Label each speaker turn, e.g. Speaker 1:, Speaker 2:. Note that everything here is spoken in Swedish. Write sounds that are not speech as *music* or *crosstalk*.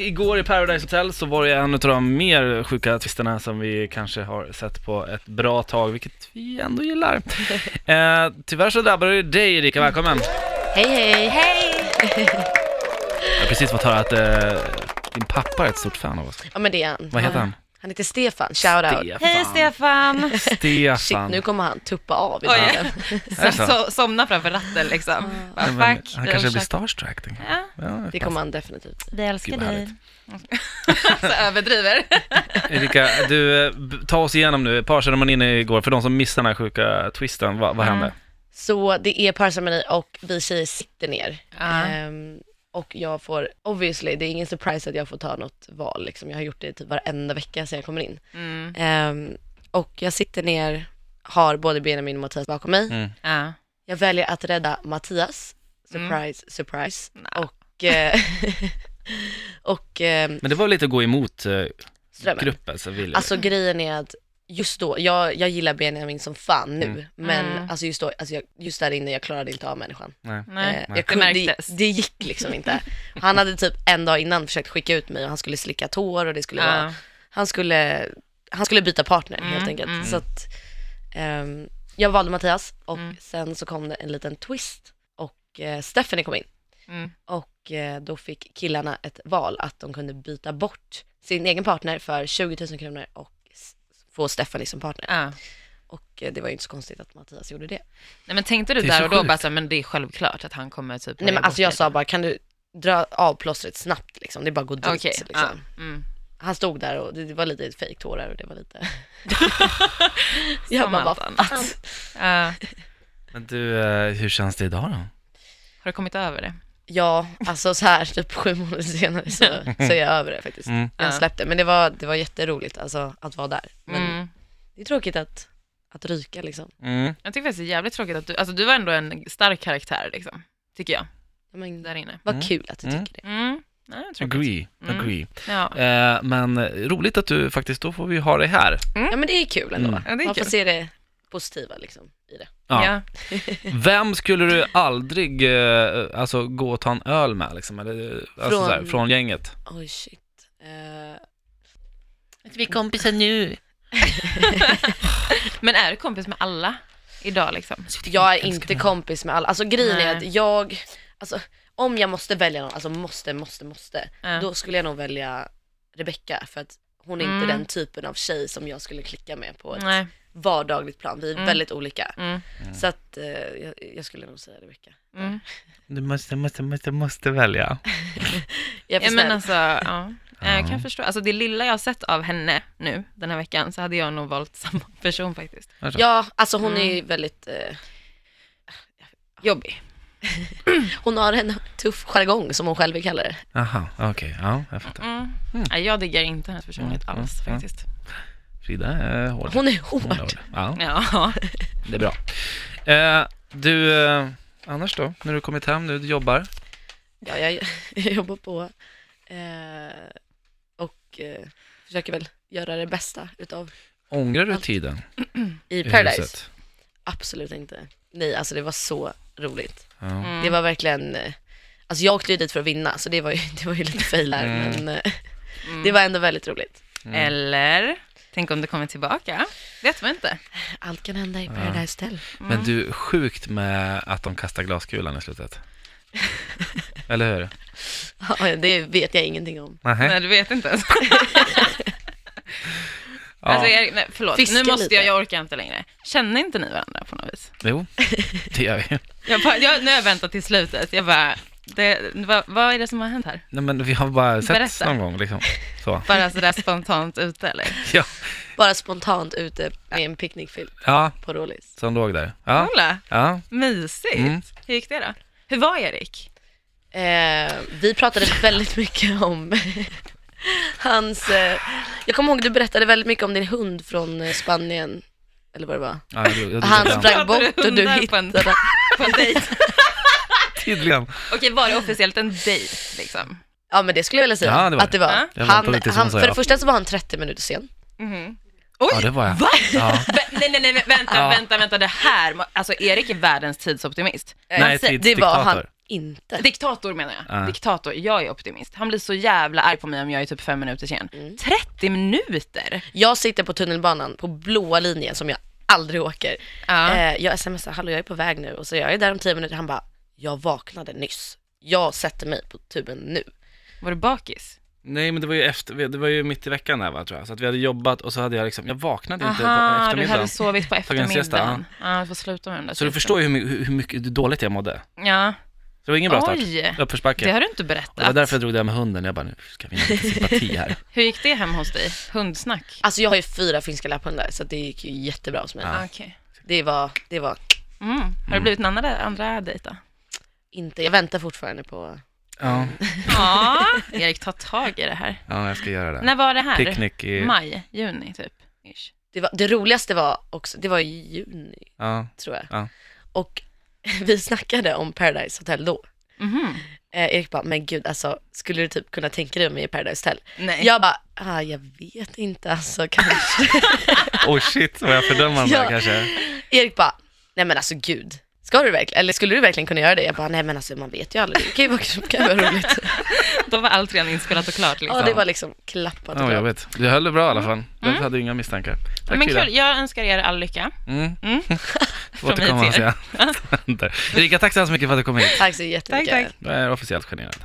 Speaker 1: Igår i Paradise Hotel så var det en av de mer sjuka twisterna som vi kanske har sett på ett bra tag, vilket vi ändå gillar. Eh, tyvärr så drabbade det dig Erika, välkommen.
Speaker 2: Hej hej!
Speaker 3: Hej!
Speaker 1: Jag har precis fått höra att eh, din pappa är ett stort fan av oss.
Speaker 2: Ja men det är han.
Speaker 1: Vad heter han?
Speaker 2: Han heter Stefan, shoutout.
Speaker 3: Hej Stefan!
Speaker 1: Stefan.
Speaker 2: Shit, nu kommer han tuppa av i
Speaker 3: Oj.
Speaker 2: bilen.
Speaker 1: Är det
Speaker 3: Så,
Speaker 1: så?
Speaker 3: så, somna framför ratten liksom. Bara,
Speaker 1: Nej, men
Speaker 3: fuck,
Speaker 1: Han
Speaker 3: jag
Speaker 1: kanske blir
Speaker 3: försöker-
Speaker 1: starstruck. tänker jag.
Speaker 3: Ja,
Speaker 1: Ja,
Speaker 2: Det kommer han definitivt.
Speaker 3: vi älskar
Speaker 1: Gud, vad
Speaker 3: dig. *laughs* så överdriver.
Speaker 1: Erika, du, eh, b- ta oss igenom nu, parceremonin igår, för de som missade den här sjuka twisten, vad, vad
Speaker 3: Mm.
Speaker 1: hände?
Speaker 2: Så det är parceremoni och vi tjejer sitter ner.
Speaker 3: Ja.
Speaker 2: Ehm, och jag får, obviously, det är ingen surprise att jag får ta något val liksom. Jag har gjort det typ varenda vecka sedan jag kommer in.
Speaker 3: Mm.
Speaker 2: Ehm, och jag sitter ner, har både Benjamin och Mattias bakom mig.
Speaker 1: Mm.
Speaker 3: Ja.
Speaker 2: Jag väljer att rädda Mattias, surprise, surprise. Och, eh, *laughs* och ehm,
Speaker 1: Men det var lite att gå emot eh,
Speaker 2: strömmen.
Speaker 1: gruppen, så vill
Speaker 2: Alltså grejen är att just då, jag, jag gillar Benjamin som fan nu,
Speaker 1: Mm.
Speaker 2: men
Speaker 3: Mm.
Speaker 2: alltså just, då, alltså jag, just där inne, jag klarade inte av människan.
Speaker 1: Nej.
Speaker 3: Nej.
Speaker 2: Eh,
Speaker 1: Det
Speaker 2: jag kunde, det,
Speaker 3: märktes.
Speaker 2: det gick liksom inte. Han hade typ en dag innan försökt skicka ut mig och han skulle slicka tår och det skulle vara,
Speaker 3: Ja.
Speaker 2: han skulle, han skulle byta partner
Speaker 3: Mm,
Speaker 2: helt enkelt.
Speaker 3: mm.
Speaker 2: Så att, ehm, jag valde Mattias och
Speaker 3: Mm.
Speaker 2: sen så kom det en liten twist och eh, Stephanie kom in.
Speaker 3: Mm.
Speaker 2: Och eh, då fick killarna ett val att de kunde byta bort sin egen partner för 20 000 kronor och s- få Stephanie som partner.
Speaker 3: Ja.
Speaker 2: Och eh, det var ju inte så konstigt att Mattias gjorde det.
Speaker 3: Nej men tänkte du
Speaker 1: Det är så
Speaker 3: där och då
Speaker 1: sjukt.
Speaker 3: bara så, här, men det är självklart att han kommer typ
Speaker 2: Nej men alltså jag sa
Speaker 3: bara
Speaker 2: bara, kan du dra av plåstret snabbt liksom? Det är bara att gå dit
Speaker 3: Okej, ja.
Speaker 2: liksom.
Speaker 3: Mm.
Speaker 2: Han stod där och det- det var lite fejktårar och det var lite...
Speaker 3: Som
Speaker 2: jag bara,
Speaker 3: allt
Speaker 2: vad
Speaker 3: annat.
Speaker 2: fan?
Speaker 3: Ja.
Speaker 1: Men du, eh, hur känns det idag då?
Speaker 3: Har du kommit över det?
Speaker 2: Ja, alltså så här typ sju månader senare så, så är jag över det faktiskt.
Speaker 1: Mm.
Speaker 2: Jag
Speaker 3: Ja.
Speaker 2: släppte, men det var, det var jätteroligt alltså att vara där. Men
Speaker 3: Mm.
Speaker 2: det är tråkigt att, att ryka liksom.
Speaker 1: Mm.
Speaker 3: Jag tycker faktiskt det är jävligt tråkigt att du, alltså du var ändå en stark karaktär liksom, tycker jag,
Speaker 2: Men,
Speaker 3: där inne.
Speaker 2: Vad
Speaker 1: Mm.
Speaker 2: kul att du
Speaker 1: Mm.
Speaker 2: tycker det.
Speaker 3: Mm. Nej, jag tror
Speaker 1: Agree,
Speaker 3: Mm.
Speaker 1: agree.
Speaker 3: Ja.
Speaker 1: Eh, men eh, roligt att du faktiskt, då får vi ha dig här.
Speaker 2: Ja men det är kul ändå.
Speaker 1: Mm.
Speaker 3: Ja, det är
Speaker 2: Man får
Speaker 3: kul.
Speaker 2: se det positiva liksom i det.
Speaker 1: Ja.
Speaker 3: Ja.
Speaker 1: Vem skulle du aldrig eh, alltså, gå och ta en öl med liksom? Eller, eh, alltså, från...
Speaker 2: Från-
Speaker 1: Så här, från gänget?
Speaker 2: Oj shit. Eh,
Speaker 3: Vi är kompisar nu. Men är du kompis med alla idag liksom?
Speaker 2: jag är inte kompis med alla, alltså grejen är
Speaker 3: Nej.
Speaker 2: att jag, alltså om jag måste välja någon, alltså måste, måste, måste,
Speaker 3: Ja.
Speaker 2: då skulle jag nog välja Rebecca för att hon är
Speaker 3: Mm.
Speaker 2: inte den typen av tjej som jag skulle klicka med på ett
Speaker 3: Nej.
Speaker 2: vardagligt plan, vi är
Speaker 3: Mm.
Speaker 2: väldigt olika.
Speaker 3: Mm.
Speaker 2: Så att eh, jag, jag skulle nog säga Rebecca.
Speaker 3: Mm.
Speaker 1: Du måste, måste, måste, måste välja.
Speaker 2: Jag är
Speaker 3: Ja,
Speaker 2: för
Speaker 3: men
Speaker 2: snäll.
Speaker 3: alltså,
Speaker 2: *laughs*
Speaker 3: ja. Eh, Jag
Speaker 1: Ja.
Speaker 3: kan förstå. Alltså det lilla jag har sett av henne nu den här veckan så hade jag nog valt *laughs* samma person faktiskt.
Speaker 2: Ja, alltså hon
Speaker 3: Mm.
Speaker 2: är ju väldigt, eh,
Speaker 3: Jobbig.
Speaker 2: hon har en tuff jargong som hon själv kallar det.
Speaker 1: Aha, okej, ja, jag fattar.
Speaker 3: Mm.
Speaker 1: Mm.
Speaker 3: Nej, jag diggar inte hennes personlighet
Speaker 1: Mm,
Speaker 3: alls
Speaker 1: mm, mm.
Speaker 3: faktiskt.
Speaker 1: Frida är hård.
Speaker 2: Hon är
Speaker 1: Hon är
Speaker 2: hård.
Speaker 1: hård. Ja,
Speaker 3: Ja.
Speaker 1: det är bra. Eh, du, eh, annars då? När du kommit hem nu, du jobbar?
Speaker 2: Ja, jag, jag jobbar på eh, och eh, försöker väl göra det bästa utav
Speaker 1: Ångrar du
Speaker 2: Allt.
Speaker 1: tiden
Speaker 2: Alltså, i
Speaker 1: i
Speaker 2: Paradise.
Speaker 1: huset?
Speaker 2: Absolut inte. Nej, alltså det var så roligt.
Speaker 1: Ja.
Speaker 3: Mm.
Speaker 2: Det var verkligen, eh, alltså jag åkte ju dit för att vinna så det var ju, *laughs* det var ju lite fail där
Speaker 1: Mm.
Speaker 2: men eh,
Speaker 3: Mm.
Speaker 2: det var ändå väldigt roligt.
Speaker 1: Mm.
Speaker 3: Eller, tänk om det kommer tillbaka. Vet man inte.
Speaker 2: Allt kan hända i
Speaker 1: Ja.
Speaker 2: Paradise Hotel.
Speaker 3: Mm.
Speaker 1: Men du, sjukt med att de kastar glaskulan i
Speaker 3: *laughs*
Speaker 1: slutet. Eller hur?
Speaker 2: Ja, det vet jag ingenting om.
Speaker 1: Nej.
Speaker 3: Nej, du vet inte ens.
Speaker 1: Ja.
Speaker 3: *laughs* Alltså, jag, nej, förlåt,
Speaker 2: Fiska
Speaker 3: nu måste
Speaker 2: lite.
Speaker 3: jag, jag orkar inte längre. Känner inte ni varandra på något vis?
Speaker 1: Jo, det gör vi.
Speaker 3: Jag bara, jag, nu har jag väntat till slutet, jag bara, det, vad, vad är det som har hänt här?
Speaker 1: Nej, men vi har bara sett
Speaker 3: Berätta.
Speaker 1: någon gång liksom. Så.
Speaker 3: Bara sådär spontant ute eller?
Speaker 1: Ja.
Speaker 2: Bara spontant ute med en picknickfilt
Speaker 1: ja,
Speaker 2: på Rålis.
Speaker 1: som låg där. Ja,
Speaker 3: Kolla,
Speaker 1: ja.
Speaker 3: mysigt.
Speaker 1: Mm.
Speaker 3: Hur gick det då? Hur var Erik?
Speaker 2: Eh, vi *laughs* pratade väldigt mycket om *laughs* hans, eh, jag kommer ihåg du berättade väldigt mycket om din hund från eh, Spanien, eller vad det var.
Speaker 1: ja jag, drog- jag,
Speaker 2: Han
Speaker 1: jag,
Speaker 2: sprang
Speaker 3: Pratade
Speaker 2: bort och du
Speaker 3: hundar på en-
Speaker 2: hittade.
Speaker 3: På en dejt?
Speaker 1: *laughs* tydligen.
Speaker 3: Okej, var det officiellt en dejt liksom?
Speaker 2: Ja men det skulle jag vilja säga
Speaker 1: Ja, det var
Speaker 2: att det var.
Speaker 3: Ja.
Speaker 1: Jag väntade
Speaker 2: Han,
Speaker 1: lite, som
Speaker 2: han,
Speaker 1: hon
Speaker 2: för
Speaker 1: sa,
Speaker 2: det första så var han 30 minuter sen.
Speaker 3: Mhm. Oj!
Speaker 1: Ja, det var jag.
Speaker 3: Va?
Speaker 1: Ja.
Speaker 3: *laughs* Vä- Nej, nej, nej, vä- vänta,
Speaker 1: Ja.
Speaker 3: vänta, vänta, det här, må- alltså Erik är världens tidsoptimist.
Speaker 1: Nej,
Speaker 2: Eh, det var han.
Speaker 1: tidsdiktator.
Speaker 2: inte.
Speaker 3: Diktator menar jag.
Speaker 1: Eh. Ja.
Speaker 3: Diktator. Jag är optimist. Han blir så jävla arg på mig om jag är typ fem minuter sen.
Speaker 1: Mm.
Speaker 3: 30 minuter?
Speaker 2: Jag sitter på tunnelbanan på blåa linjen som jag aldrig åker.
Speaker 3: Ja.
Speaker 2: Eh, jag smsar, hallå jag är på väg nu och så jag är där om tio minuter. Han bara, jag vaknade nyss. Jag sätter mig på tuben nu.
Speaker 3: Var du bakis?
Speaker 1: Nej men det var ju efter, det var ju mitt i veckan där va tror jag. Så att vi hade jobbat och så hade jag liksom, jag vaknade inte på
Speaker 3: Aha, du
Speaker 1: eftermiddagen.
Speaker 3: hade sovit på
Speaker 1: Tagit en siesta,
Speaker 3: eftermiddagen. Ja, du får sluta med den där
Speaker 1: Så du
Speaker 3: siestan.
Speaker 1: förstår ju hur, my- hur mycket, hur dåligt jag mådde.
Speaker 3: Ja,
Speaker 1: Så det var ingen bra start.
Speaker 3: Oj.
Speaker 1: Uppförsbacke.
Speaker 3: det
Speaker 1: Det,
Speaker 3: har du inte berättat.
Speaker 1: det var därför jag drog det här med hunden. Jag bara, nu ska vi ha lite sympati
Speaker 3: *laughs*
Speaker 1: här.
Speaker 3: Hur gick det hem hos dig? Hundsnack?
Speaker 2: Alltså jag har ju fyra finska lapphundar så att det gick ju jättebra hos mig.
Speaker 1: Ja.
Speaker 3: Ah, Okej.
Speaker 2: Det var, det var
Speaker 3: Mm. Har det blivit en andra, andra dejt då?
Speaker 2: inte, jag väntar fortfarande på
Speaker 1: Ja,
Speaker 3: Ja, *laughs* Erik ta tag i det här.
Speaker 1: ja jag ska göra det.
Speaker 3: När var det här?
Speaker 1: Picknick i,
Speaker 3: Maj, juni typ? Ish.
Speaker 2: det, var, det roligaste var också, det var i juni
Speaker 1: ja,
Speaker 2: tror jag.
Speaker 1: Ja.
Speaker 2: Och *laughs* vi snackade om Paradise Hotel då.
Speaker 3: Mhm.
Speaker 2: Eh, Erik bara, men gud alltså, skulle du typ kunna tänka dig mig i Paradise Hotel?
Speaker 3: Nej.
Speaker 2: Jag bara, ah, jag vet inte alltså kanske.
Speaker 1: oh shit vad jag
Speaker 3: *laughs*
Speaker 1: fördömer dem där
Speaker 2: Ja.
Speaker 1: kanske.
Speaker 2: *laughs* Erik bara, nej men alltså gud, ska du verkligen, eller skulle du verkligen kunna göra det? Jag bara, nej men alltså man vet ju aldrig, det kan ju vara, *laughs* det kan ju vara roligt.
Speaker 3: Då var allt redan inspelat och klart liksom.
Speaker 2: Ja det var liksom klappat
Speaker 1: Ja,
Speaker 2: och
Speaker 1: jag
Speaker 2: klart.
Speaker 1: vet. Du höll det bra i alla fall. Du hade inga misstankar. Tack
Speaker 3: Mm. Men
Speaker 1: Frida.
Speaker 3: kul, jag önskar er all lycka.
Speaker 1: Mm. *laughs*
Speaker 3: Mm.
Speaker 1: Återkomma
Speaker 3: mig till
Speaker 1: och
Speaker 3: er.
Speaker 1: säga. *laughs* Erika, tack så hemskt mycket för att du kom hit.
Speaker 2: Tack så jättemycket.
Speaker 3: Tack, tack.
Speaker 1: Jag är officiellt generad.